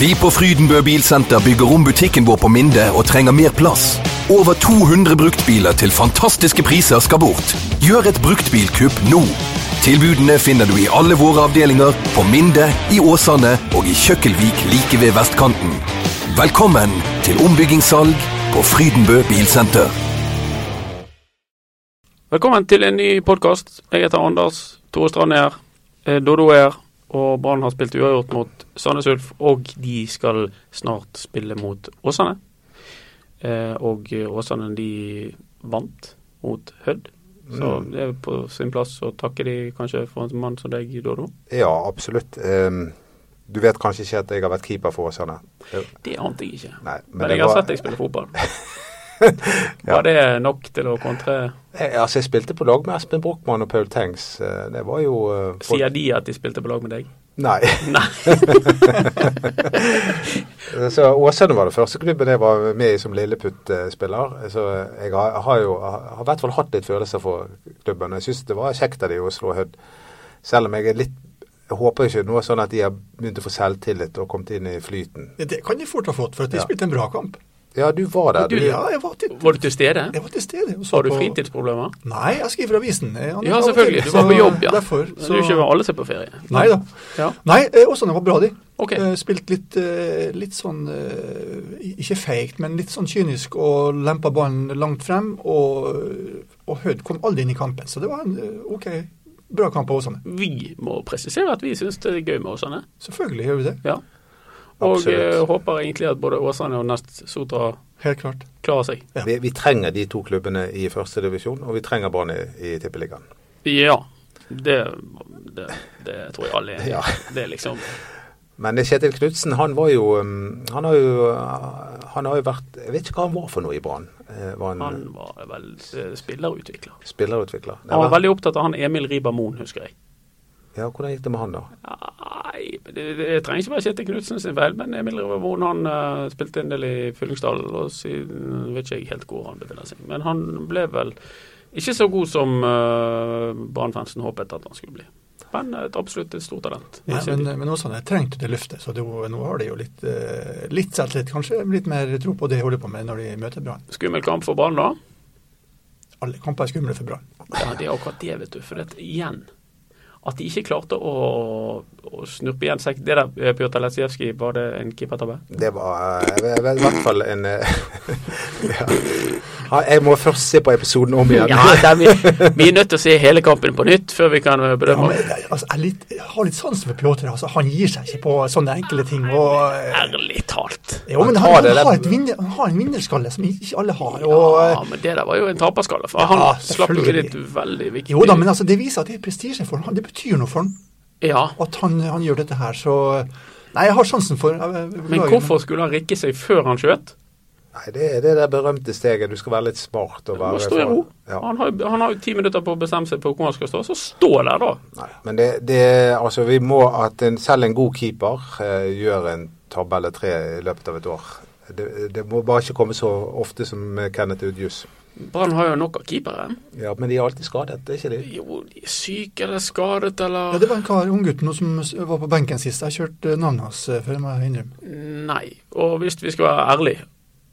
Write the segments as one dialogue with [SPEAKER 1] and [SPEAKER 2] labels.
[SPEAKER 1] Vi på Frydenbø Bilsenter bygger om butikken vår på Minde og trenger mer plass. Over 200 bruktbiler til fantastiske priser skal bort. Gjør et bruktbilkupp nå. Tilbudene finner du i alle våre avdelinger, på Minde, i Åsane og i Kjøkkelvik like ved vestkanten. Velkommen til ombyggingssalg på Frydenbø Bilsenter.
[SPEAKER 2] Velkommen til en ny podkast. Jeg heter Anders. Tore Strand er her. Eh, Dodo er her. Og Brann har spilt uavgjort mot Sandnes Ulf, og de skal snart spille mot Åsane. Eh, Og eh, Åsane de vant mot Hødd. Så
[SPEAKER 3] Mm.
[SPEAKER 2] det er på sin plass å takke de kanskje for en mann som deg, Dodo.
[SPEAKER 3] Ja, absolutt. Ehm, du vet kanskje ikke at jeg har vært keeper for Åsane? Jo,
[SPEAKER 2] Det ante jeg ikke.
[SPEAKER 3] Nei, men
[SPEAKER 2] men
[SPEAKER 3] det
[SPEAKER 2] jeg har
[SPEAKER 3] var-
[SPEAKER 2] sett deg spille fotball. Var det nok til å kontre?
[SPEAKER 3] Jeg, altså, jeg spilte på lag med Espen Brochmann og Paul Tengs. Eh, Det var jo eh, folk-
[SPEAKER 2] Sier de at de spilte på lag med deg?
[SPEAKER 3] Nei.
[SPEAKER 2] Nei.
[SPEAKER 3] Så Åsane var det første klubben jeg var med i som lilleputt-spiller. Så jeg har, har jo har i hvert fall hatt litt følelser for klubben. Jeg syns det var kjekt av de å slå Hødd. Selv om jeg er litt jeg håper ikke noe sånn at de har begynt å få selvtillit og kommet inn i flyten.
[SPEAKER 4] Men Det kan de fort ha fått, for at de
[SPEAKER 3] Ja.
[SPEAKER 4] spilte en bra kamp.
[SPEAKER 3] Ja, du var der.
[SPEAKER 4] Du,
[SPEAKER 3] Du,
[SPEAKER 4] ja, jeg var til,
[SPEAKER 2] Var du til stede?
[SPEAKER 4] jeg var til stede. og så
[SPEAKER 2] Har du
[SPEAKER 4] på-
[SPEAKER 2] fritidsproblemer?
[SPEAKER 4] Nei, jeg skriver avisen. Jeg har
[SPEAKER 2] Ja,
[SPEAKER 4] av og
[SPEAKER 2] selvfølgelig. Du
[SPEAKER 4] til,
[SPEAKER 2] var på
[SPEAKER 4] så
[SPEAKER 2] jobb, ja.
[SPEAKER 4] Derfor,
[SPEAKER 2] Men
[SPEAKER 4] så...
[SPEAKER 2] Du er ikke alle som er på ferie.
[SPEAKER 4] Nei da.
[SPEAKER 2] Ja.
[SPEAKER 4] Nei, eh, Åsane var bra, de.
[SPEAKER 2] Ok.
[SPEAKER 4] Eh, Spilt litt, eh, litt sånn eh, Ikke feigt, men litt sånn kynisk og lempa ballen langt frem. Og, og Hødd kom aldri inn i kampen, så det var en eh, OK, bra kamp av Åsane.
[SPEAKER 2] Vi må presisere at vi syns det er gøy med Åsane.
[SPEAKER 4] Selvfølgelig gjør vi det.
[SPEAKER 2] Ja. Og
[SPEAKER 3] Absolutt.
[SPEAKER 2] eh, håper egentlig at både Åsane og Nest Sotra
[SPEAKER 4] Helt klart.
[SPEAKER 2] klarer seg.
[SPEAKER 4] Ja.
[SPEAKER 3] vi, vi trenger de to klubbene i første divisjon, og vi trenger Brann i, i Tippeligaen.
[SPEAKER 2] Ja. Det, det, det tror jeg alle er.
[SPEAKER 3] Ja.
[SPEAKER 2] Det er liksom
[SPEAKER 3] Men Kjetil Knutsen, han var jo um, Han har jo, han har jo vært Jeg vet ikke hva han var for noe i Brann. Eh, Var han,
[SPEAKER 2] Han var vel eh, spillerutvikler.
[SPEAKER 3] spillerutvikler? Det
[SPEAKER 2] Han var
[SPEAKER 3] var-
[SPEAKER 2] veldig opptatt av han Emil Riiber Moen, husker jeg.
[SPEAKER 3] Ja, hvordan gikk det med han, da?
[SPEAKER 2] Nei, men det, det trenger ikke være Kjetil Knutsen sin feil, men Emil Riiber Moen han eh, spilte en del i Fyllingsdalen, og siden vet ikke jeg helt hvor han befinner seg. Men han ble vel ikke så god som uh, Brann-fansen håpet at han skulle bli. Men eh, et absolutt et stort talent.
[SPEAKER 4] Ja, men, men Åsane trengte det løftet, så det, jo- nå har de jo litt, eh, litt selvtillit, kanskje. Litt mer tro på det de holder på med når de møter Brann.
[SPEAKER 2] Skummel kamp for Brann, da.
[SPEAKER 4] Alle kamper er skumle for Brann.
[SPEAKER 2] Ja, det er akkurat det, vet du. For det, igjen at de ikke klarte å, å snurpe igjen sekk. Det der eh, Pjotr Letsijevskij, var det en keepertabbe?
[SPEAKER 3] Det var eh, jeg vet- i hvert fall en eh, ja. Ha, Jeg må først se på episoden om igjen.
[SPEAKER 2] Ja, det er vi, vi er nødt til å se hele kampen på nytt før vi kan eh,
[SPEAKER 4] Ja,
[SPEAKER 2] bedømme.
[SPEAKER 4] men, jeg- altså, jeg, er litt, jeg har litt sansen for Pjotr. Altså, han gir seg ikke på sånne enkle ting. Og, eh,
[SPEAKER 2] Ærlig talt.
[SPEAKER 4] jo, men
[SPEAKER 3] Han
[SPEAKER 4] han,
[SPEAKER 3] tar
[SPEAKER 4] han,
[SPEAKER 3] det,
[SPEAKER 4] har
[SPEAKER 3] det-
[SPEAKER 4] et vinner, han har en vinnerskalle som ikke alle har.
[SPEAKER 2] Ja,
[SPEAKER 4] Og, eh,
[SPEAKER 2] men det der var jo en taperskalle. For
[SPEAKER 4] Ja,
[SPEAKER 2] han slapp jo
[SPEAKER 4] selvfølgelig.
[SPEAKER 2] litt veldig viktig
[SPEAKER 4] jo da, men altså, det viser at det er prestisje for ham. Det betyr noe for ham
[SPEAKER 2] Ja.
[SPEAKER 4] at han, han gjør dette her. Så Nei, jeg har sansen for jeg- jeg- jeg
[SPEAKER 2] Men
[SPEAKER 4] beklager,
[SPEAKER 2] hvorfor skulle han rikke seg før han skjøt?
[SPEAKER 3] Nei, det er det der berømte steget. Du skal være litt smart og
[SPEAKER 2] Bare
[SPEAKER 3] være
[SPEAKER 2] stå i ro.
[SPEAKER 3] Ja.
[SPEAKER 2] Han har jo- han har jo ti minutter på å bestemme seg på hvor han skal stå, så stå der, da.
[SPEAKER 3] Nei, men det, det altså vi må at en, selv en god keeper eh, gjør en tabbe eller tre i løpet av et år. Det, det må bare ikke komme så ofte som eh, Kenneth Udjus.
[SPEAKER 2] Brann har jo nok av keepere.
[SPEAKER 3] Ja, men de er alltid skadet, det er ikke de?
[SPEAKER 2] Jo, de er syke eller skadet
[SPEAKER 4] Ja,
[SPEAKER 2] eller
[SPEAKER 4] det var en kar, unggutten nå som s- var på benken sist. Jeg kjørte navnet hans eh, før, må jeg innrømme.
[SPEAKER 2] Nei. Og hvis vi skal være ærlige,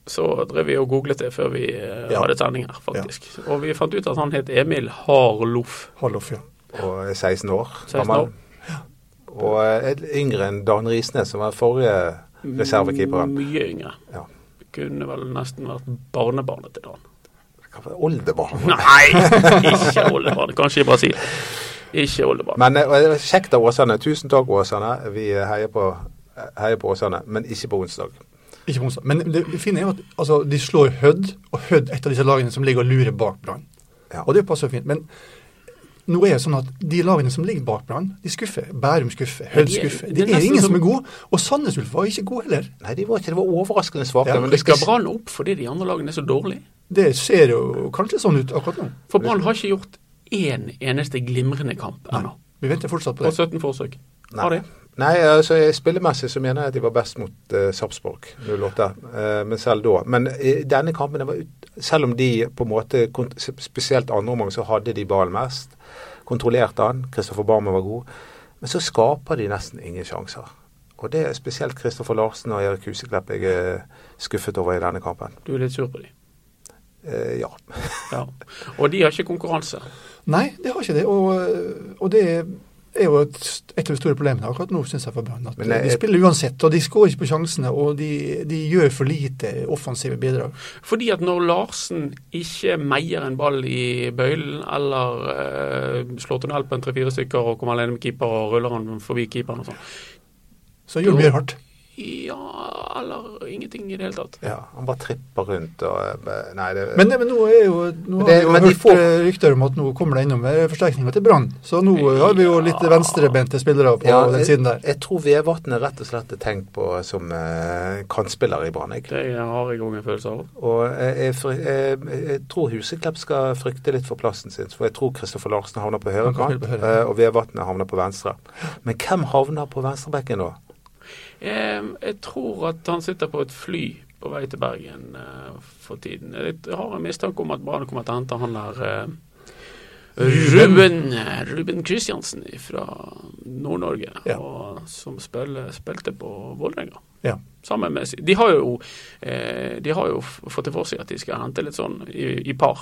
[SPEAKER 2] så drev vi og googlet det før vi eh,
[SPEAKER 4] Ja.
[SPEAKER 2] hadde sending her, faktisk. Og vi fant ut at han het Emil Harloff.
[SPEAKER 4] Hallof, ja.
[SPEAKER 3] Og er 16 år
[SPEAKER 2] 16
[SPEAKER 3] gammel.
[SPEAKER 2] år.
[SPEAKER 3] Og eh, er yngre enn Dan Risnes, som var forrige reservekeeperen.
[SPEAKER 2] Mye yngre.
[SPEAKER 3] Ja.
[SPEAKER 2] Kunne vel nesten vært barnebarnet til Dan.
[SPEAKER 3] Hva var det? Oldebarn.
[SPEAKER 2] Nei, ikke oldebarn. Kanskje i Brasil. Ikke oldebarn.
[SPEAKER 3] Men eh, og det var kjekt av Åsane. Tusen takk, Åsane. Vi eh, heier på, eh, heier på Åsane, men ikke på onsdag.
[SPEAKER 4] Ikke Monstad. Men det fine er jo at altså, de slår Hødd, og Hødd er et av disse lagene som ligger og lurer bak Brann.
[SPEAKER 3] Ja.
[SPEAKER 4] Og det passer jo fint. Men nå er det sånn at de lagene som ligger bak Brann, de skuffer. Bærum skuffer, Hødd
[SPEAKER 2] de er-
[SPEAKER 4] skuffer.
[SPEAKER 2] det er
[SPEAKER 4] Det er
[SPEAKER 2] nesten
[SPEAKER 4] ingen
[SPEAKER 2] som-
[SPEAKER 4] som er gode. Og Sandnes Ulf var ikke god heller.
[SPEAKER 3] Nei, de var ikke, det var overraskende svake.
[SPEAKER 4] Ja,
[SPEAKER 3] men
[SPEAKER 2] Men
[SPEAKER 3] det
[SPEAKER 2] skal Brann opp fordi de andre lagene er så dårlige?
[SPEAKER 4] Det ser jo kanskje sånn ut akkurat nå.
[SPEAKER 2] For Brann har ikke gjort én eneste glimrende kamp ennå.
[SPEAKER 4] Vi venter fortsatt på
[SPEAKER 2] På 17
[SPEAKER 4] det.
[SPEAKER 2] forsøk. Har
[SPEAKER 3] Nei.
[SPEAKER 2] de?
[SPEAKER 3] Nei, altså jeg- spillemessig så mener jeg at de var best mot eh, Sarpsborg 08, eh, men selv da. Men i denne kampen, det var ut, selv om de på en måte, kont- spesielt andre omgang, så hadde de ballen mest. Kontrollerte han, Kristoffer Barmen var god. Men så skaper de nesten ingen sjanser. Og det er spesielt Kristoffer Larsen og Erik Huseklepp jeg er skuffet over i denne kampen.
[SPEAKER 2] Du er litt sur på dem.
[SPEAKER 3] Eh, ja.
[SPEAKER 2] Ja. Og de har ikke konkurranse.
[SPEAKER 4] Nei, det har ikke det. Og, og det er jo et, et av de store problemene akkurat nå, syns jeg, for Brann. At
[SPEAKER 3] Men jeg-
[SPEAKER 4] de spiller uansett, og de skårer ikke på sjansene. Og de, de gjør for lite offensive bidrag.
[SPEAKER 2] Fordi at når Larsen ikke meier en ball i bøylen, eller eh, slår tunnel på en tre-fire stykker og kommer alene med keeper og ruller han forbi keeperen og sånn
[SPEAKER 4] Så gjør de mye hardt.
[SPEAKER 2] Ja, eller ingenting i det hele tatt.
[SPEAKER 3] ja. Han bare tripper rundt og eh, Nei, det
[SPEAKER 4] Men, men nå er jo nå har
[SPEAKER 3] Det-
[SPEAKER 4] vi jo
[SPEAKER 3] men de
[SPEAKER 4] hørt
[SPEAKER 3] får-
[SPEAKER 4] eh, rykter om at nå kommer det innom eh, forsterkninger til Brann. Så nå eh, har vi jo litt
[SPEAKER 2] Ja.
[SPEAKER 4] venstrebente spillere på
[SPEAKER 3] Ja,
[SPEAKER 4] den
[SPEAKER 3] jeg,
[SPEAKER 4] siden der.
[SPEAKER 3] jeg tror Vevatn er rett og slett tenkt på som eh, kantspiller i Brann. jeg.
[SPEAKER 2] Det har jeg òg en følelse av.
[SPEAKER 3] Og jeg, jeg, fry- jeg, jeg tror Huseklepp skal frykte litt for plassen sin. For jeg tror Kristoffer Larsen havner på høyre
[SPEAKER 4] Han kan
[SPEAKER 3] kant,
[SPEAKER 4] spille på høyre.
[SPEAKER 3] eh, og Vevatnet havner på venstre. Men hvem havner på venstrebekken da?
[SPEAKER 2] Eh, jeg tror at han sitter på et fly på vei til Bergen eh, for tiden. Jeg har en mistanke om at Brann kommer til å hente han der eh, Ruben, eh, Ruben Kristiansen fra Nord-Norge,
[SPEAKER 4] Ja.
[SPEAKER 2] og som spiller, spilte på Vålerenga.
[SPEAKER 4] Ja.
[SPEAKER 2] Sammen med, si- de, har jo, eh, de har jo f- fått det for seg at de skal hente litt sånn i, i par.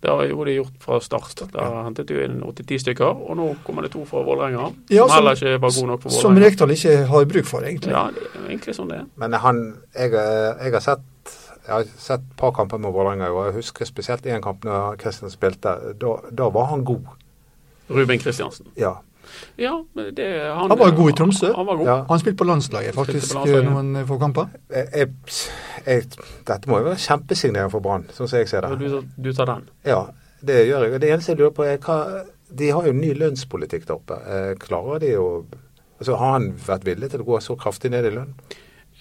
[SPEAKER 2] Det har jo de gjort fra start. Da hentet de jo inn 8-10 stykker, og nå kommer det to fra Vålerenga.
[SPEAKER 4] Ja,
[SPEAKER 2] som
[SPEAKER 4] som-
[SPEAKER 2] heller ikke var god nok for
[SPEAKER 4] Som
[SPEAKER 2] Vålerenga.
[SPEAKER 4] Rekdal ikke har bruk for, egentlig.
[SPEAKER 2] Ja, det er jo egentlig sånn det er.
[SPEAKER 3] Men han, jeg, eh, jeg har sett jeg har sett et par kamper med Vålerenga i år. Jeg husker spesielt én kamp når Kristian spilte. Da, da var han god.
[SPEAKER 2] Ruben Kristiansen.
[SPEAKER 3] Ja.
[SPEAKER 2] Ja, men det,
[SPEAKER 4] Han var god i Tromsø.
[SPEAKER 2] Han var god.
[SPEAKER 3] ja.
[SPEAKER 4] Han spilte på landslaget faktisk
[SPEAKER 2] Spilte på landslaget.
[SPEAKER 4] eh, noen eh, få kamper.
[SPEAKER 3] Jeg, jeg, jeg, dette må jo være kjempesignering for Brann, sånn som jeg ser
[SPEAKER 2] Og
[SPEAKER 3] det.
[SPEAKER 2] Du, du tar den.
[SPEAKER 3] Ja, det gjør jeg. Og Det eneste jeg lurer på er hva De har jo ny lønnspolitikk der oppe. Eh, klarer de å Altså, Har han vært villig til å gå så kraftig ned i lønn?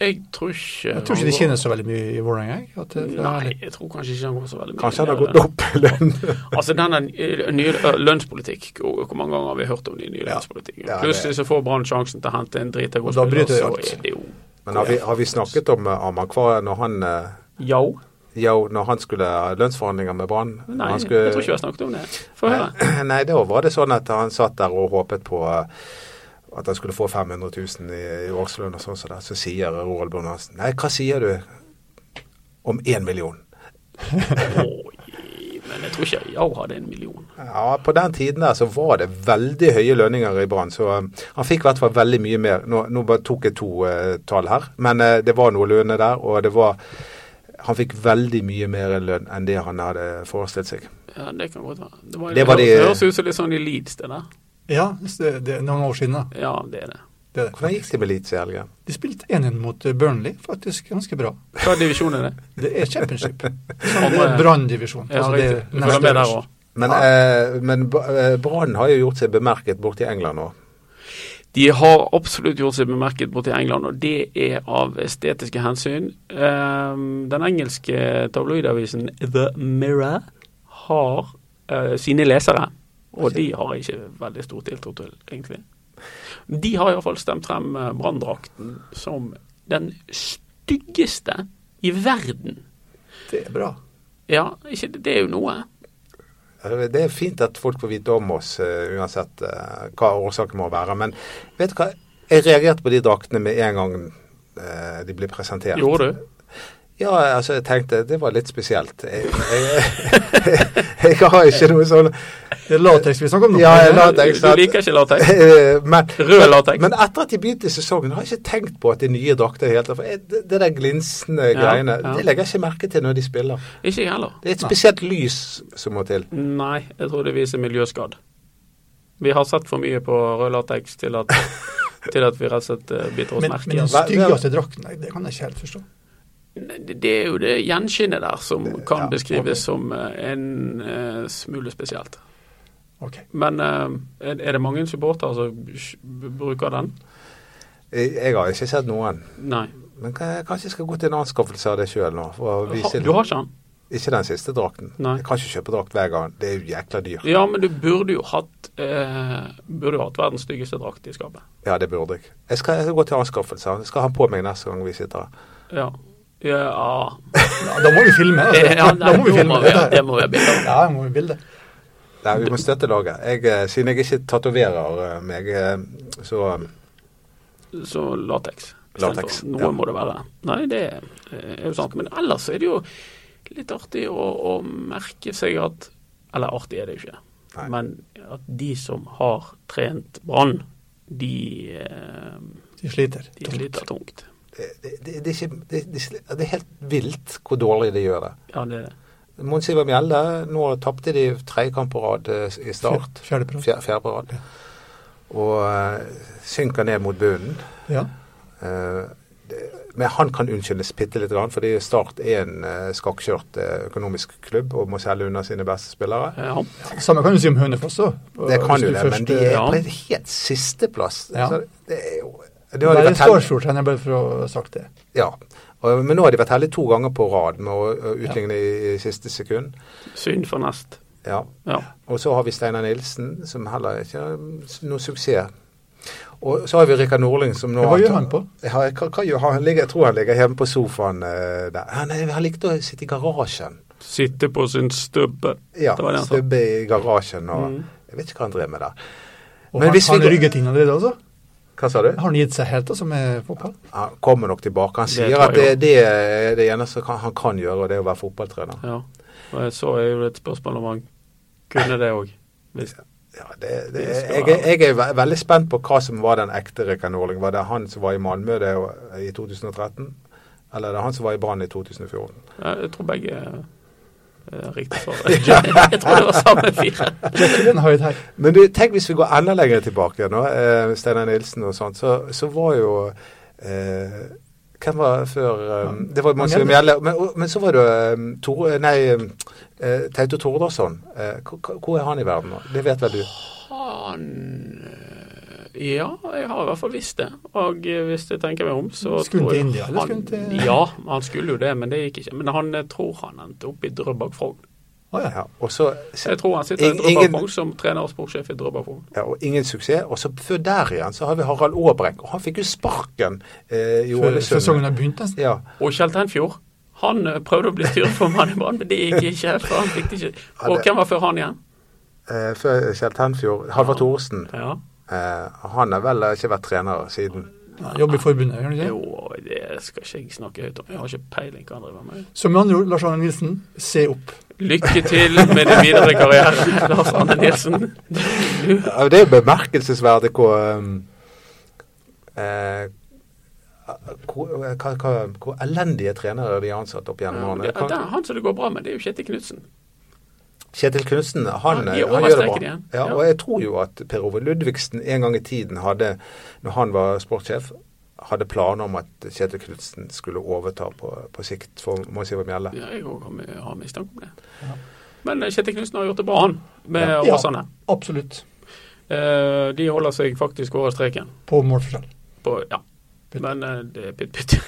[SPEAKER 2] Jeg tror ikke
[SPEAKER 4] Jeg tror ikke de tjener så veldig mye i Vålerenga. jeg, at, eh, for å være
[SPEAKER 2] Nei,
[SPEAKER 4] ærlig.
[SPEAKER 2] jeg tror kanskje ikke han går så veldig mye
[SPEAKER 3] Kanskje han har
[SPEAKER 2] ned.
[SPEAKER 3] gått opp i lønn?
[SPEAKER 2] Altså denne eh, nye eh, lønnspolitikk, hvor hvor mange ganger har vi hørt om de nye lønnspolitikken?
[SPEAKER 3] Ja, det-
[SPEAKER 2] Plutselig så får Brann sjansen til å hente en drita god
[SPEAKER 4] Og da bryter de
[SPEAKER 2] så
[SPEAKER 4] alt.
[SPEAKER 2] er det jo
[SPEAKER 3] Men har vi, har vi snakket om eh, Amakwa når han eh,
[SPEAKER 2] Ja.
[SPEAKER 3] ja, når han skulle ha lønnsforhandlinger med Brann?
[SPEAKER 2] Nei,
[SPEAKER 3] Han
[SPEAKER 2] jeg
[SPEAKER 3] skulle-
[SPEAKER 2] tror ikke vi har snakket om det. Få høre.
[SPEAKER 3] Nei, nei, da var det sånn at han satt der og håpet på eh, at han skulle få 500 000 i, i årslønn og sånn som det. Så sier Roald Blom Hansen Nei, hva sier du om én million?
[SPEAKER 2] Oi, men jeg tror ikke Ja hadde en million.
[SPEAKER 3] Ja, på den tiden der så var det veldig høye lønninger i Brann. Så um, han fikk i hvert fall veldig mye mer. Nå, nå bare tok jeg to eh, tall her, men eh, det var noe lønne der. Og det var Han fikk veldig mye mer lønn enn det han hadde forestilt seg.
[SPEAKER 2] Ja, det kan godt være. Det, var,
[SPEAKER 3] Det var de-
[SPEAKER 2] høres ut som litt sånn i Leeds, det der.
[SPEAKER 4] Ja, så det, det er noen år siden. da.
[SPEAKER 2] Ja, det er det.
[SPEAKER 4] Det er det.
[SPEAKER 3] Hvordan gikk det med Leeds i helgen?
[SPEAKER 4] De spilte 1-1 mot eh, Burnley, faktisk ganske bra.
[SPEAKER 2] Hva divisjon er det?
[SPEAKER 4] Det er championship. Så det
[SPEAKER 2] Andre-
[SPEAKER 4] er Brann-divisjon.
[SPEAKER 2] Ja,
[SPEAKER 4] altså, det er
[SPEAKER 2] riktig. Du
[SPEAKER 4] neste
[SPEAKER 2] følger med der
[SPEAKER 4] øverst.
[SPEAKER 2] òg.
[SPEAKER 3] Men, eh, men Ba- eh, Brann har jo gjort seg bemerket borte i England nå.
[SPEAKER 2] De har absolutt gjort seg bemerket borti England, og det er av estetiske hensyn. Ehm, den engelske tabloidavisen The Mirror har eh, sine lesere, og de har jeg ikke veldig stor tiltro til, egentlig. De har iallfall stemt frem eh, Branndrakten som den styggeste i verden.
[SPEAKER 4] Det er bra.
[SPEAKER 2] Ja, ikke, det er jo noe.
[SPEAKER 3] Eh, Det er fint at folk får vite om oss, eh, uansett eh, hva årsaken må være. Men vet du hva? Jeg reagerte på de draktene med en gang eh, de ble presentert.
[SPEAKER 2] Gjorde du?
[SPEAKER 3] Ja, altså jeg tenkte det var litt spesielt. Jeg, jeg, jeg, har ikke noe sånn
[SPEAKER 4] Det er latex vi snakker om nå.
[SPEAKER 3] Ja, jeg la-
[SPEAKER 2] Du, du liker ikke latex?
[SPEAKER 3] eh, men,
[SPEAKER 2] Rød latex.
[SPEAKER 3] men etter at de begynte sesongen, har jeg ikke tenkt på at det er nye drakter i det hele tatt. For jeg- Det det der glinsende
[SPEAKER 2] Ja,
[SPEAKER 3] greiene,
[SPEAKER 2] ja.
[SPEAKER 3] det legger jeg ikke merke til når de spiller.
[SPEAKER 2] Ikke jeg heller.
[SPEAKER 3] Det er et spesielt lys som må til.
[SPEAKER 2] Nei, jeg tror det viser miljøskadd. Vi har sett for mye på rød latex til at, til at vi rett og slett eh, biter oss
[SPEAKER 4] men,
[SPEAKER 2] merke
[SPEAKER 4] men
[SPEAKER 2] i
[SPEAKER 4] den
[SPEAKER 2] det.
[SPEAKER 3] Hva-
[SPEAKER 4] styggeste drakten, nei, det kan jeg ikke helt forstå.
[SPEAKER 2] Det- Det er jo det gjenskinnet der som kan
[SPEAKER 3] ja, ok.
[SPEAKER 2] beskrives som eh, en eh, smule spesielt.
[SPEAKER 4] Ok.
[SPEAKER 2] Men eh, er er det mange supportere som sj- bruker den?
[SPEAKER 3] Jeg jeg har ikke sett noen.
[SPEAKER 2] Nei.
[SPEAKER 3] Men kan- jeg kanskje jeg skal gå til en anskaffelse av det sjøl nå. For å
[SPEAKER 2] Du
[SPEAKER 3] vise
[SPEAKER 2] har, du har ikke den?
[SPEAKER 3] Ikke den siste drakten.
[SPEAKER 2] Nei.
[SPEAKER 3] Jeg kan ikke kjøpe drakt hver gang. Det er jo jækla dyrt.
[SPEAKER 2] Ja, men du burde jo hatt eh, Burde jo hatt verdens styggeste drakt i skapet.
[SPEAKER 3] Ja, det burde jeg. Jeg skal, jeg skal gå til anskaffelse. Jeg skal ha den på meg neste gang vi sitter her.
[SPEAKER 2] Ja. Ja,
[SPEAKER 4] Ja, da må vi filme.
[SPEAKER 2] ja,
[SPEAKER 4] Altså. da
[SPEAKER 2] nei,
[SPEAKER 4] må vi
[SPEAKER 2] nå
[SPEAKER 4] filme.
[SPEAKER 2] må vi, det må vi ha bilde av.
[SPEAKER 4] Ja, da må vi bilde.
[SPEAKER 3] Nei, vi må støtte laget. Jeg, eh, siden jeg ikke tatoverer eh, meg, eh, så eh,
[SPEAKER 2] så lateks.
[SPEAKER 3] Latex,
[SPEAKER 2] Noe
[SPEAKER 3] ja.
[SPEAKER 2] må det være. Nei, det eh, er jo sant. Men ellers er det jo litt artig å, å merke seg at Eller artig er det jo ikke.
[SPEAKER 3] Nei.
[SPEAKER 2] Men at de som har trent Brann, de, eh,
[SPEAKER 4] De sliter.
[SPEAKER 2] de sliter tungt.
[SPEAKER 3] Det, eh, det, det, det, er ikke, det, det, det er helt vilt hvor dårlig de gjør det.
[SPEAKER 2] Ja, det er det.
[SPEAKER 3] Mons Ivar Mjelde, nå tapte de tredje kamp på rad eh, i start.
[SPEAKER 4] Fjerde på rad.
[SPEAKER 3] Fjerde, fjerde på rad. Og eh, synker ned mot bunnen.
[SPEAKER 4] Ja.
[SPEAKER 3] Eh, det- men han kan unnskyldes bitte litt, grann, fordi Start er en eh, skakkjørt eh, økonomisk klubb og må selge unna sine beste spillere.
[SPEAKER 2] Ja.
[SPEAKER 4] Samme kan du si om Hønefoss òg.
[SPEAKER 3] Det kan jo det, men de er
[SPEAKER 4] eh,
[SPEAKER 2] ja.
[SPEAKER 3] på en helt sisteplass.
[SPEAKER 4] Ja.
[SPEAKER 3] Så Det er jo det har de
[SPEAKER 4] Det er
[SPEAKER 3] vært
[SPEAKER 4] en
[SPEAKER 3] heldige-
[SPEAKER 4] Starsfjord, jeg bare for å ha sagt det.
[SPEAKER 3] ja. Og- Men nå har de vært heldige to ganger på rad med å å utligne i, i siste sekund.
[SPEAKER 2] Synd for nest.
[SPEAKER 3] Ja.
[SPEAKER 2] Ja.
[SPEAKER 3] Og så har vi Steinar Nilsen, som heller ikke har noen suksess. Og så har vi Rikard Nordling, som nå
[SPEAKER 4] Ja, hva gjør han på?
[SPEAKER 3] Ja, hva, hva gjør han? Han ligger, jeg tror han ligger hjemme på sofaen eh, der. Han, er- han likte å sitte i garasjen.
[SPEAKER 2] Sitte på sin stubbe.
[SPEAKER 3] Ja,
[SPEAKER 2] det var det han sa.
[SPEAKER 3] stubbe i garasjen og
[SPEAKER 2] Mm.
[SPEAKER 3] Jeg vet ikke hva han drev med der.
[SPEAKER 4] Og
[SPEAKER 3] Men
[SPEAKER 4] han,
[SPEAKER 3] hvis vi
[SPEAKER 4] han
[SPEAKER 3] går-
[SPEAKER 4] rygget inn allerede, altså?
[SPEAKER 3] Hva sa du?
[SPEAKER 4] Har han gitt seg helt altså med fotball?
[SPEAKER 3] Han kommer nok tilbake. Han
[SPEAKER 2] Det
[SPEAKER 3] sier
[SPEAKER 2] tror
[SPEAKER 3] at det,
[SPEAKER 2] jeg
[SPEAKER 3] det er det eneste kan- han kan gjøre, og det er å være fotballtrener.
[SPEAKER 2] Ja. Og jeg så er jo et spørsmål om han kunne det òg.
[SPEAKER 3] Ja, det, det,
[SPEAKER 2] Det skal
[SPEAKER 3] jeg,
[SPEAKER 2] være.
[SPEAKER 3] jeg er ve- veldig spent på hva som var den ekte Rikard Norling. Var det han som var i Malmö det, i 2013? Eller er det han som var i Brann i 2014?
[SPEAKER 2] Jeg tror begge er riktig svar. Jeg tror det var samme fire.
[SPEAKER 4] Jekyll and Hyde her.
[SPEAKER 3] Men du, tenk hvis vi går enda lenger tilbake nå, eh, Steinar Nilsen og sånt, så, så var jo eh, Hvem var før eh, Det var Mons
[SPEAKER 4] Mjelde.
[SPEAKER 3] Mjelle. Men, og- men så var det eh, Tor, nei, eh, Tauto Tordarsson. Eh, hvor- hvor er han i verden nå? Det vet vel du?
[SPEAKER 2] Han eh, Ja, jeg har i hvert fall visst det. Og eh, hvis jeg tenker meg om, så
[SPEAKER 4] Skulle
[SPEAKER 2] tror
[SPEAKER 4] til
[SPEAKER 2] jeg
[SPEAKER 4] India, eller skulle
[SPEAKER 2] han-
[SPEAKER 4] til-
[SPEAKER 2] Ja, han skulle jo det, men det gikk ikke. Men han jeg tror han endte opp i Drøbak Frogn.
[SPEAKER 4] Å ja.
[SPEAKER 3] Ja, og så
[SPEAKER 2] Jeg tror han sitter i
[SPEAKER 3] Ingen-
[SPEAKER 2] Drøbak Frogn som trener og sportssjef i Drøbak Frogn.
[SPEAKER 3] ja, og ingen suksess. Og så før der igjen så har vi Harald Aabrekk. Og han fikk jo sparken eh, i
[SPEAKER 4] Før
[SPEAKER 3] Ålesund.
[SPEAKER 4] sesongen har begynt nesten.
[SPEAKER 3] Ja,
[SPEAKER 2] Og Kjell Tenfjord. Han eh, prøvde å bli styreformann i Brann, men det gikk ikke. for han fikk det ikke.
[SPEAKER 3] Ja,
[SPEAKER 2] Og
[SPEAKER 3] det-
[SPEAKER 2] hvem var før han igjen?
[SPEAKER 3] eh, før Kjell Tenfjord. Halvard Thoresen.
[SPEAKER 2] Ja.
[SPEAKER 3] Eh, han har vel ikke vært trener siden.
[SPEAKER 4] Ja, Jobber i forbundet, gjør han ikke det?
[SPEAKER 2] Jo, det skal ikke jeg snakke høyt om. Jeg har ikke peiling hva han driver med.
[SPEAKER 4] Så med andre ord, Lars Arne Nilsen, se opp.
[SPEAKER 2] Lykke til med din videre karriere, Lars Arne Nilsen.
[SPEAKER 3] Ja, Det er jo bemerkelsesverdig hvor um, eh, hvor, eh, hva, hva, hvor elendige trenere de har ansatt opp gjennom
[SPEAKER 2] Det
[SPEAKER 3] årene.
[SPEAKER 2] er
[SPEAKER 3] Kan-
[SPEAKER 2] han som det går bra med, det er jo Kjetil Knutsen.
[SPEAKER 3] Kjetil Knutsen, han,
[SPEAKER 2] Ja,
[SPEAKER 3] eh,
[SPEAKER 2] de er
[SPEAKER 3] han
[SPEAKER 2] over
[SPEAKER 3] gjør det
[SPEAKER 2] streken
[SPEAKER 3] bra.
[SPEAKER 2] igjen.
[SPEAKER 3] Ja,
[SPEAKER 2] Ja.
[SPEAKER 3] og jeg tror jo at Per Ove Ludvigsen en gang i tiden hadde, når han var sportssjef, hadde planer om at Kjetil Knutsen skulle overta på, på sikt for Mons Ivar Mjelde.
[SPEAKER 2] Ja, jeg òg har mi- har mistanke om det. Men eh, Kjetil Knutsen har gjort det bra, han, med
[SPEAKER 4] Ja.
[SPEAKER 2] Åsane.
[SPEAKER 4] Absolutt.
[SPEAKER 2] Eh, De holder seg faktisk over streken.
[SPEAKER 4] På målforskjell.
[SPEAKER 2] På, ja.
[SPEAKER 4] Pytt.
[SPEAKER 2] Men eh, det er pytt, pytt.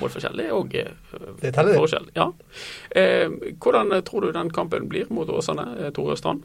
[SPEAKER 2] Målforskjell er òg
[SPEAKER 4] Det teller, det.
[SPEAKER 2] forskjell. Ja. Eh, Hvordan tror du den kampen blir mot Åsane, eh, Tore Strand?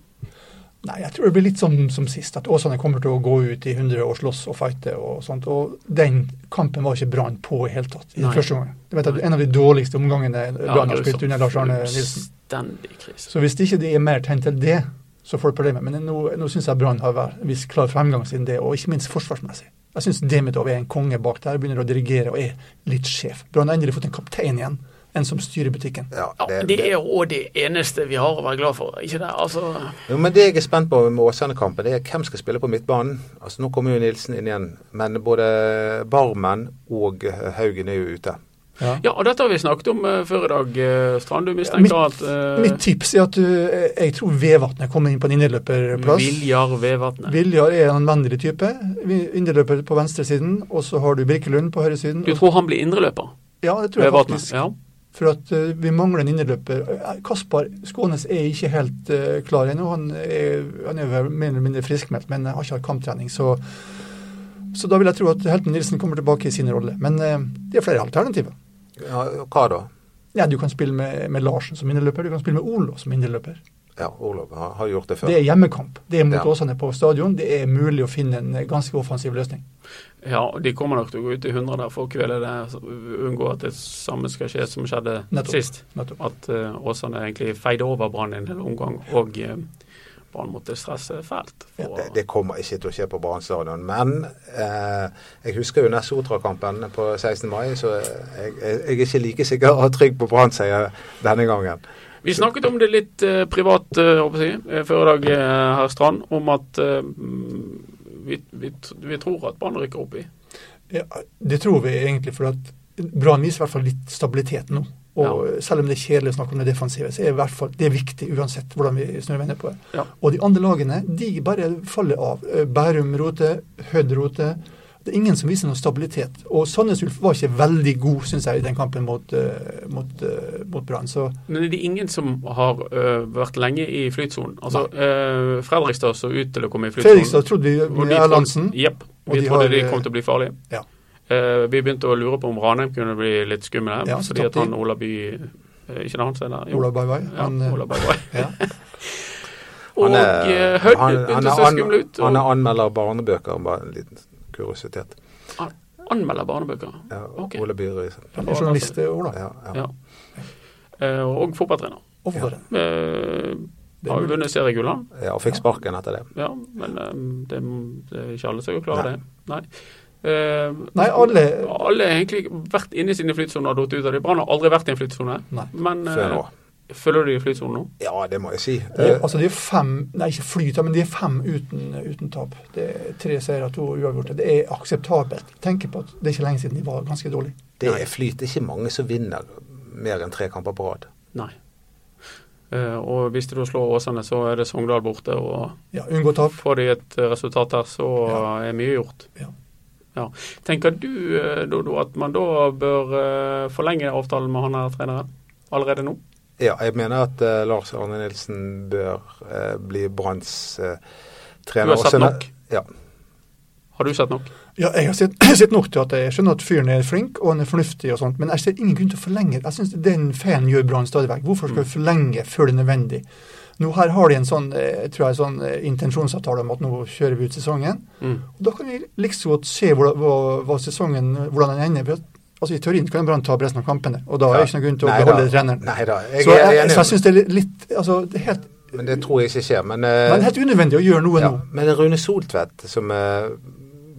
[SPEAKER 4] Nei, jeg tror det blir litt som, som sist, at Åsane kommer til å gå ut i 100 og slåss og fighte og sånt. Og den kampen var ikke Brann på i det hele tatt i den
[SPEAKER 2] Nei.
[SPEAKER 4] første omgangen. Du vet at En av de dårligste omgangene Brann har
[SPEAKER 2] grusomt.
[SPEAKER 4] spilt under Lars Arne Nilsen.
[SPEAKER 2] Fullstendig krise.
[SPEAKER 4] Så hvis ikke de er mer tegn til det, så får du problemer. Men nå, nå syns jeg Brann har vært en viss klar fremgang siden det, og ikke minst forsvarsmessig. Jeg syns Demitov er en konge bak der, begynner å dirigere og er litt sjef. Brann har endelig fått en kaptein igjen, en som styrer butikken.
[SPEAKER 3] Ja,
[SPEAKER 2] Ja, det, er jo også det eneste vi har å være glad for, ikke det? Altså,
[SPEAKER 3] Jo, men det jeg er spent på med Åsane-kampen, det er hvem skal spille på midtbanen. Altså Nå kommer jo Nilsen inn igjen, men både Barmen og Haugen er jo ute.
[SPEAKER 4] Ja.
[SPEAKER 2] ja, og dette har vi snakket om eh, før i dag, eh, Strand. Du
[SPEAKER 4] Ja, mitt-
[SPEAKER 2] mistenker at eh,
[SPEAKER 4] Mitt tips er at du, eh, jeg tror Vevatnet kommer inn på en innerløperplass.
[SPEAKER 2] Viljar Vevatnet
[SPEAKER 4] Viljar er en vennlig type. Vi- Innerløper på venstresiden, og så har du Birkelund på høyresiden.
[SPEAKER 2] Du tror han blir indreløper?
[SPEAKER 4] Ja, det tror jeg
[SPEAKER 2] Vevatnet?
[SPEAKER 4] faktisk.
[SPEAKER 2] Ja.
[SPEAKER 4] For at eh, vi mangler en innerløper. Eh, Kaspar Skånes er ikke helt eh, klar ennå. Han er, han er vel mer eller mindre friskmeldt, men eh, har ikke hatt kamptrening. Så, så da vil jeg tro at Helten Nilsen kommer tilbake i sin rolle. Men eh, det er flere alternativer.
[SPEAKER 3] Ja, og hva da?
[SPEAKER 4] Ja, du kan spille med, med Larsen som innerløper, du kan spille med Olo som innerløper.
[SPEAKER 3] Ja, Olav har, har gjort det før.
[SPEAKER 4] Det er hjemmekamp. Det er mot
[SPEAKER 3] Ja.
[SPEAKER 4] Åsane på stadion. Det er mulig å finne en eh, ganske offensiv løsning.
[SPEAKER 2] ja, og de kommer nok til å gå ut i 100 der for å kvele det, så unngå at det samme skal skje som skjedde
[SPEAKER 4] Nettopp.
[SPEAKER 2] sist.
[SPEAKER 4] Nettopp.
[SPEAKER 2] At eh, Åsane egentlig feide over Brann i en hel omgang og eh, Brann måtte stresse fælt.
[SPEAKER 3] Ja,
[SPEAKER 2] For,
[SPEAKER 3] Det, det kommer ikke til å skje på Brann stadion. Men eh, jeg husker jo neste Sotra-kampen på 16. mai, så jeg, jeg, jeg er ikke like sikker og trygg på Brann-seier denne gangen.
[SPEAKER 2] Vi snakket om det litt eh, privat eh, håper jeg, å si, eh, før i dag, eh, herr Strand, om at eh, vi, vi, t- vi tror at Brann rykker opp i.
[SPEAKER 4] Ja, det tror vi egentlig, for at Brann viser i hvert fall litt stabilitet nå. Og Selv om det er kjedelig å snakke om det defensive, så er i hvert fall det er viktig uansett hvordan vi snur og vender på det.
[SPEAKER 2] Ja.
[SPEAKER 4] Og de andre lagene de bare faller av. Eh, Bærum roter, Hødd roter. Det er ingen som viser noen stabilitet. Og Sandnes Ulf var ikke veldig god, syns jeg, i den kampen mot, eh, mot, eh, mot Brann. Så
[SPEAKER 2] Men er det ingen som har eh, vært lenge i flytsonen? Altså, eh, Fredrikstad så ut til å komme i flytsonen.
[SPEAKER 4] Fredrikstad trodde vi
[SPEAKER 2] Og
[SPEAKER 4] med
[SPEAKER 2] de trodde-
[SPEAKER 4] Erlandsen.
[SPEAKER 2] Jepp.
[SPEAKER 4] Og
[SPEAKER 2] Vi
[SPEAKER 4] de
[SPEAKER 2] trodde
[SPEAKER 4] har,
[SPEAKER 2] de
[SPEAKER 4] eh,
[SPEAKER 2] kom til å bli farlige.
[SPEAKER 4] ja.
[SPEAKER 2] Eh, vi begynte å lure på om Ranheim kunne bli litt skummel her,
[SPEAKER 4] Ja, så
[SPEAKER 2] fordi at
[SPEAKER 4] tapte de.
[SPEAKER 2] han Ola By eh, Ikke det han som er der? Jo.
[SPEAKER 4] Ola Baiwai.
[SPEAKER 2] Ja,
[SPEAKER 4] han, eh,
[SPEAKER 2] Ola Baiwai.
[SPEAKER 4] ja.
[SPEAKER 2] Og eh, Hødd
[SPEAKER 3] han- han
[SPEAKER 2] begynte
[SPEAKER 3] er
[SPEAKER 2] å se
[SPEAKER 3] an-
[SPEAKER 2] skummel ut.
[SPEAKER 3] Han
[SPEAKER 2] Og
[SPEAKER 3] er anmelder av barnebøker, bare en liten kuriositet.
[SPEAKER 2] an anmelder barnebøker.
[SPEAKER 3] Ja,
[SPEAKER 2] Ok.
[SPEAKER 3] Ole Byrøe.
[SPEAKER 4] Han er journalist, eh, Ola.
[SPEAKER 3] Ja, ja.
[SPEAKER 2] Ja. Eh, og fotballtrener.
[SPEAKER 4] Og forfatter.
[SPEAKER 2] Eh, har jo vunnet seriegullene,
[SPEAKER 3] ja, og fikk sparken etter det.
[SPEAKER 2] ja, men eh, det, det er ikke alle som klarer
[SPEAKER 3] Nei.
[SPEAKER 2] det. Nei. Eh,
[SPEAKER 4] Nei, alle-
[SPEAKER 2] Alle har egentlig vært inne i sine flytsoner og datt ut av det. Brann har aldri vært i en flytsone.
[SPEAKER 4] Nei.
[SPEAKER 2] Men
[SPEAKER 3] Før nå.
[SPEAKER 2] eh, følger du i flytsonen nå?
[SPEAKER 3] Ja, det må jeg si.
[SPEAKER 4] Det,
[SPEAKER 3] Eh,
[SPEAKER 4] altså det er fem, nei ikke flyt, men det er fem uten, uten tap. Det er tre seire, to uavgjorte. Det er akseptabelt. Tenk på at det er ikke lenge siden de var ganske dårlige.
[SPEAKER 3] Det er flyt. Det er ikke mange som vinner mer enn tre kamper på rad.
[SPEAKER 2] Nei. Eh, og hvis du slår Åsane, så er det Sogndal borte. Og
[SPEAKER 4] Ja, unngå tap.
[SPEAKER 2] får de et eh, resultat her, så
[SPEAKER 4] Ja.
[SPEAKER 2] er mye gjort.
[SPEAKER 4] Ja.
[SPEAKER 2] Ja. Tenker du, eh, Dodo, at man da bør eh, forlenge avtalen med han her treneren allerede nå?
[SPEAKER 3] Ja, jeg mener at eh, Lars Arne Nilsen bør eh, bli Branns eh, trener.
[SPEAKER 2] Du har sett
[SPEAKER 3] Også ne-
[SPEAKER 2] nok?
[SPEAKER 3] Ja.
[SPEAKER 2] Har du sett nok?
[SPEAKER 4] Ja, jeg har sett, sett nok til at jeg skjønner at fyren er flink og han er fornuftig og sånt, men jeg ser ingen grunn til å forlenge. Jeg syns den feilen gjør Brann stadig vekk. Hvorfor skal vi forlenge før det er nødvendig? Nå her har de en sånn, eh, tror jeg, sånn eh, intensjonsavtale om at nå kjører vi ut sesongen.
[SPEAKER 2] Mm.
[SPEAKER 4] Og Da kan vi liksom godt se hvordan, hva, hva sesongen, hvordan den ender. For at, altså I teorien kan Brann tape resten av kampene, og da er det ikke noen grunn til å
[SPEAKER 3] Nei da.
[SPEAKER 4] beholde treneren.
[SPEAKER 3] Nei da. Jeg
[SPEAKER 4] så
[SPEAKER 3] er
[SPEAKER 4] jeg,
[SPEAKER 3] enig.
[SPEAKER 4] så jeg syns det er litt altså, det er helt,
[SPEAKER 3] Men det tror jeg ikke skjer. Men, eh,
[SPEAKER 4] men helt unødvendig å gjøre noe
[SPEAKER 3] ja.
[SPEAKER 4] nå.
[SPEAKER 3] men Rune Soltvedt, som eh,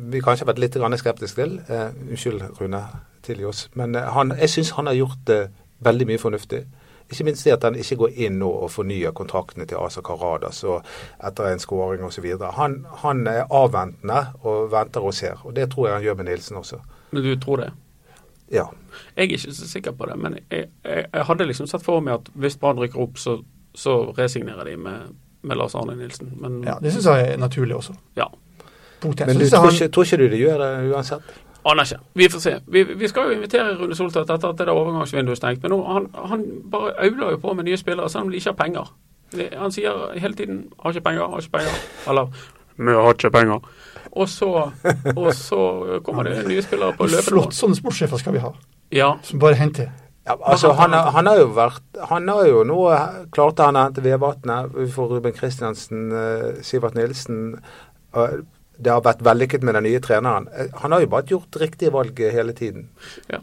[SPEAKER 3] vi kanskje har vært litt grann skeptiske til eh, Unnskyld, Rune, tilgi oss. Men eh, han, jeg syns han har gjort eh, veldig mye fornuftig. Ikke minst det at han ikke går inn nå og fornyer kontraktene til Asa Karadas og etter en skåring osv. Han, han er avventende og venter og ser. Og det tror jeg han gjør med Nilsen også.
[SPEAKER 2] Men du tror det?
[SPEAKER 3] Ja.
[SPEAKER 2] Jeg er ikke så sikker på det, men jeg, jeg, jeg hadde liksom sett for meg at hvis Brann rykker opp, så, så resignerer de med, med Lars Arne Nilsen. Men
[SPEAKER 4] Ja, det syns jeg er naturlig også.
[SPEAKER 2] ja.
[SPEAKER 4] Potent.
[SPEAKER 3] Men du
[SPEAKER 4] Så synes jeg
[SPEAKER 3] tror
[SPEAKER 4] han-
[SPEAKER 3] ikke, tror ikke du det gjør det uansett?
[SPEAKER 2] Aner ikke. Vi får se. Vi, vi skal jo invitere Rune Soltvedt etter at det der overgangsvinduet er stengt. Men nå, han, han bare auler jo på med nye spillere, selv om de ikke har penger. Det- Han sier hele tiden 'har ikke penger, har ikke penger'. Eller 'vi har ikke penger'. Og så, og så kommer det nye spillere på løpende
[SPEAKER 4] Flott
[SPEAKER 2] bånd.
[SPEAKER 4] sånne sportssjefer skal vi ha,
[SPEAKER 2] Ja.
[SPEAKER 4] som bare henter.
[SPEAKER 3] Ja, altså, han, har- han har jo vært Han har jo nå eh, klarte han å hente Vevatnet. Vi får Ruben Kristiansen, eh, Sivert Nilsen. og Det har vært vellykket med den nye treneren. Eh, Han har jo bare gjort riktige valg eh, hele tiden.
[SPEAKER 2] ja.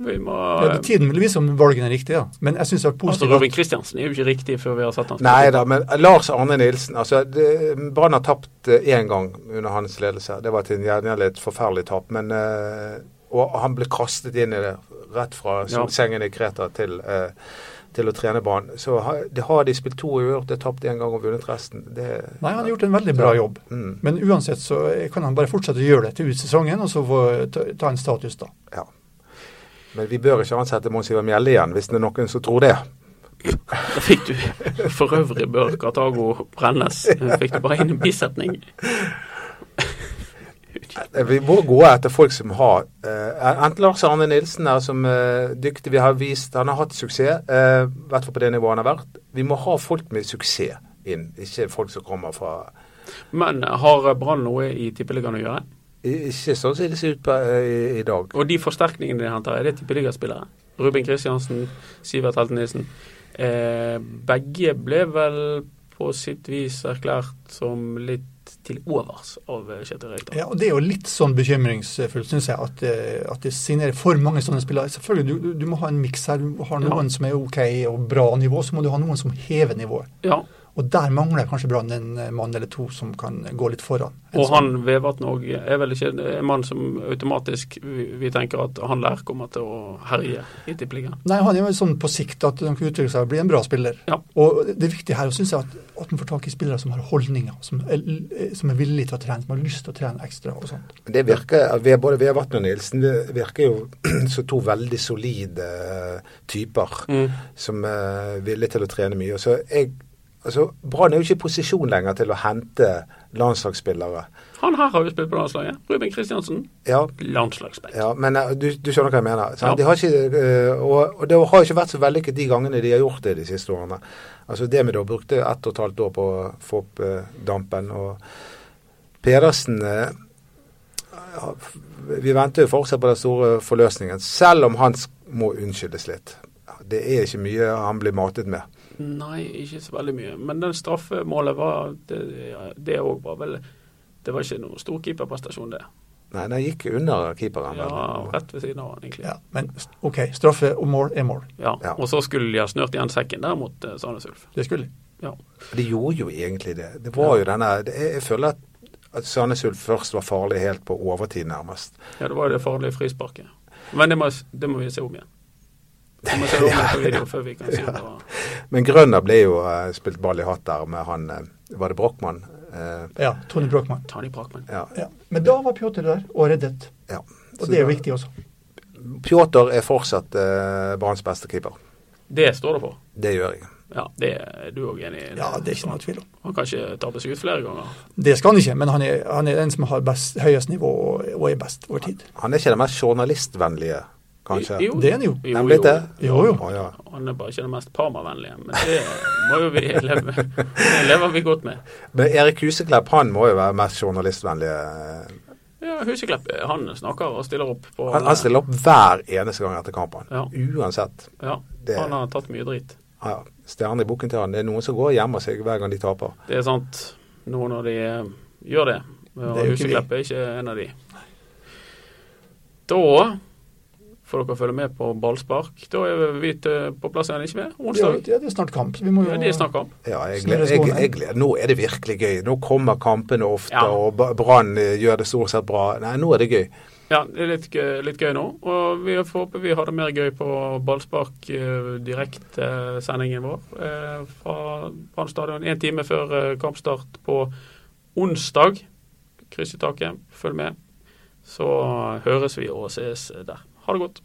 [SPEAKER 2] Vi må
[SPEAKER 4] Ja, det- tiden vil vise om valgene er riktige, ja. men jeg syns det er
[SPEAKER 2] Altså,
[SPEAKER 4] positivt.
[SPEAKER 2] Robin
[SPEAKER 4] at-
[SPEAKER 2] Kristiansen er jo ikke riktig før vi har sett han spille.
[SPEAKER 3] Nei da, men Lars Arne Nilsen altså, det- Brann har tapt eh, én gang under hans ledelse. Det var til en gjerne et forferdelig tap. Men, eh, og han ble kastet inn i det rett fra
[SPEAKER 2] Ja.
[SPEAKER 3] sengen i Kreta til, eh, til å trene Brann. Så ha, det har de spilt to uavgjort, det er tapt én gang og vunnet resten. Det,
[SPEAKER 4] Nei, han har gjort en veldig bra jobb.
[SPEAKER 3] Mm,
[SPEAKER 4] Men uansett så kan han bare fortsette å gjøre det til ut sesongen, og så få ta, ta en status da.
[SPEAKER 3] ja. Men vi bør ikke ansette Mons Ivar Mjelde igjen, hvis det er noen som tror det.
[SPEAKER 2] Da fikk du For øvrig bør Kartago brennes. Fikk du bare inn en bisetning.
[SPEAKER 3] Eh, Vi må gå etter folk som har eh, Enten Lars Arne Nilsen er som eh, dyktig, vi har vist han har hatt suksess, eh, i hvert fall på det nivået han har vært. Vi må ha folk med suksess inn, ikke folk som kommer fra
[SPEAKER 2] Men har Brann noe i Tippeligaen å gjøre?
[SPEAKER 3] i- Ikke sånn som det ser ut på, eh, i, i dag.
[SPEAKER 2] Og de forsterkningene de henter, er det tippeligaspillere? Ruben Kristiansen, Sivert Helten Nilsen. Eh, begge ble vel på sitt vis erklært som litt til overs av eh, Kjetil Rekdal.
[SPEAKER 4] Ja, og Det er jo litt sånn bekymringsfullt, syns jeg, at, eh, at de signerer for mange sånne spillere. Selvfølgelig, du, du- du må ha en miks her. Du har noen som er OK og bra nivå, så må du ha noen som hever nivået.
[SPEAKER 2] Ja.
[SPEAKER 4] Og Og der mangler kanskje Brann en eh, mann eller to som kan gå litt foran. En
[SPEAKER 2] Og
[SPEAKER 4] sånn-
[SPEAKER 2] han Vevatn òg er vel ikke en mann som automatisk vi, vi tenker at han der kommer til å herje i Tippeligaen.
[SPEAKER 4] Nei, han er vel sånn på sikt at han kan utvikle seg og bli en bra spiller.
[SPEAKER 2] Ja.
[SPEAKER 4] Og det viktige her synes jeg at, at man får tak i spillere som har holdninger, som er, eh, som er villige til å trene, som har lyst til å trene ekstra og sånt.
[SPEAKER 3] Men Det virker, ved- Både Vevatn og Nilsen det virker jo som to veldig solide eh, typer som eh, er villige til å trene mye. Og Så jeg, altså, Brann er jo ikke i posisjon lenger til å hente landslagsspillere.
[SPEAKER 2] Han her har jo spilt på landslaget. Ruben Kristiansen,
[SPEAKER 3] Ja,
[SPEAKER 2] landslagsspiller.
[SPEAKER 3] ja men eh, du, du skjønner hva jeg mener. sant?
[SPEAKER 2] Ja.
[SPEAKER 3] De har ikke, eh, og, og det har ikke vært så vellykket de gangene de har gjort det de siste årene. Altså det med det å brukte ett og et halvt år på å få opp eh, dampen. Og Pedersen eh, ja, f- Vi venter jo fortsatt på den store forløsningen, selv om han sk- må unnskyldes litt. Det er ikke mye han blir matet med.
[SPEAKER 2] Nei, ikke så veldig mye. Men den straffemålet var Det ja, det òg var vel Det var ikke noe stor keeperprestasjon, det.
[SPEAKER 3] Nei, den gikk under keeperen.
[SPEAKER 2] Ja,
[SPEAKER 3] vel?
[SPEAKER 2] Rett ved siden av han, egentlig.
[SPEAKER 4] Ja, men OK, straffe og mål er mål.
[SPEAKER 2] Ja.
[SPEAKER 3] Ja.
[SPEAKER 2] Og så skulle de ha snørt igjen sekken der mot eh, Sandnes Ulf.
[SPEAKER 4] Det skulle de.
[SPEAKER 2] Ja.
[SPEAKER 3] De gjorde jo egentlig det. Det var jo denne det, Jeg jeg føler at, at Sandnes Ulf først var farlig helt på overtid, nærmest.
[SPEAKER 2] ja, det var jo det farlige frisparket. Men det må, det må vi se om igjen. Vi må se om igjen på video før vi kan si om det var
[SPEAKER 3] Men Grønner ble jo eh, spilt ball i hatt der med han eh, Var det Brochmann? Eh,
[SPEAKER 4] Ja, Tony Brochmann.
[SPEAKER 2] Ta de brakmenn.
[SPEAKER 3] ja.
[SPEAKER 4] Ja. Men da var Pjotr der og reddet.
[SPEAKER 3] ja.
[SPEAKER 4] Og
[SPEAKER 3] Så da-
[SPEAKER 4] det er jo viktig også.
[SPEAKER 3] Pjotr er fortsatt eh, Branns beste keeper.
[SPEAKER 2] Det står det for.
[SPEAKER 3] Det gjør jeg.
[SPEAKER 2] Ja, det er du òg enig i?
[SPEAKER 4] Ja, det er ikke noe tvil om.
[SPEAKER 2] Han kan ikke tabbe seg ut flere ganger.
[SPEAKER 4] Det skal han ikke, men han er, han er den som har best, høyest nivå og, og er best over tid.
[SPEAKER 3] Han er ikke den mest journalistvennlige, kanskje.
[SPEAKER 2] Jo,
[SPEAKER 4] Det er han jo.
[SPEAKER 3] Er han blitt det?
[SPEAKER 4] Jo, jo.
[SPEAKER 3] Å, ja.
[SPEAKER 2] Han er bare ikke den mest Parma-vennlige, men det må jo vi leve med. Det lever vi godt med.
[SPEAKER 3] Men Erik Huseklepp han må jo være mest journalistvennlig.
[SPEAKER 2] Ja, Huseklepp han snakker og stiller opp på
[SPEAKER 3] Han, han stiller opp hver eneste gang etter kampen.
[SPEAKER 2] Ja.
[SPEAKER 3] Uansett.
[SPEAKER 2] Ja,
[SPEAKER 3] Det-
[SPEAKER 2] han har tatt mye drit.
[SPEAKER 3] Ja, ja. Stjerne i boken til han. Det er noen som går og gjemmer seg hver gang de taper.
[SPEAKER 2] Det er sant, nå når de eh, gjør det. Og
[SPEAKER 4] Det er jo ikke vi.
[SPEAKER 2] Huseklepp er ikke en av de. Da får dere følge med på ballspark. Da er vi til- på plass igjen, ikke vi?
[SPEAKER 4] Det er,
[SPEAKER 2] Onsdag.
[SPEAKER 4] jo- ja, det er snart kamp. så Vi må jo
[SPEAKER 2] Ja, de snakker om.
[SPEAKER 3] Ja, jeg
[SPEAKER 4] Snorre
[SPEAKER 3] gleder, jeg,
[SPEAKER 4] Skåne.
[SPEAKER 3] jeg gleder. Nå er det virkelig gøy. Nå kommer kampene ofte,
[SPEAKER 2] Ja.
[SPEAKER 3] og Ba- Brann eh, gjør det stort sett bra. Nei, nå er det gøy.
[SPEAKER 2] Ja, det er litt gøy, litt gøy nå. Og vi får håpe vi har det mer gøy på ballspark eh, direktesendingen vår eh, fra Brann stadion én time før eh, kampstart på onsdag. Kryss i taket, følg med. Så høres vi og ses der. Ha det godt.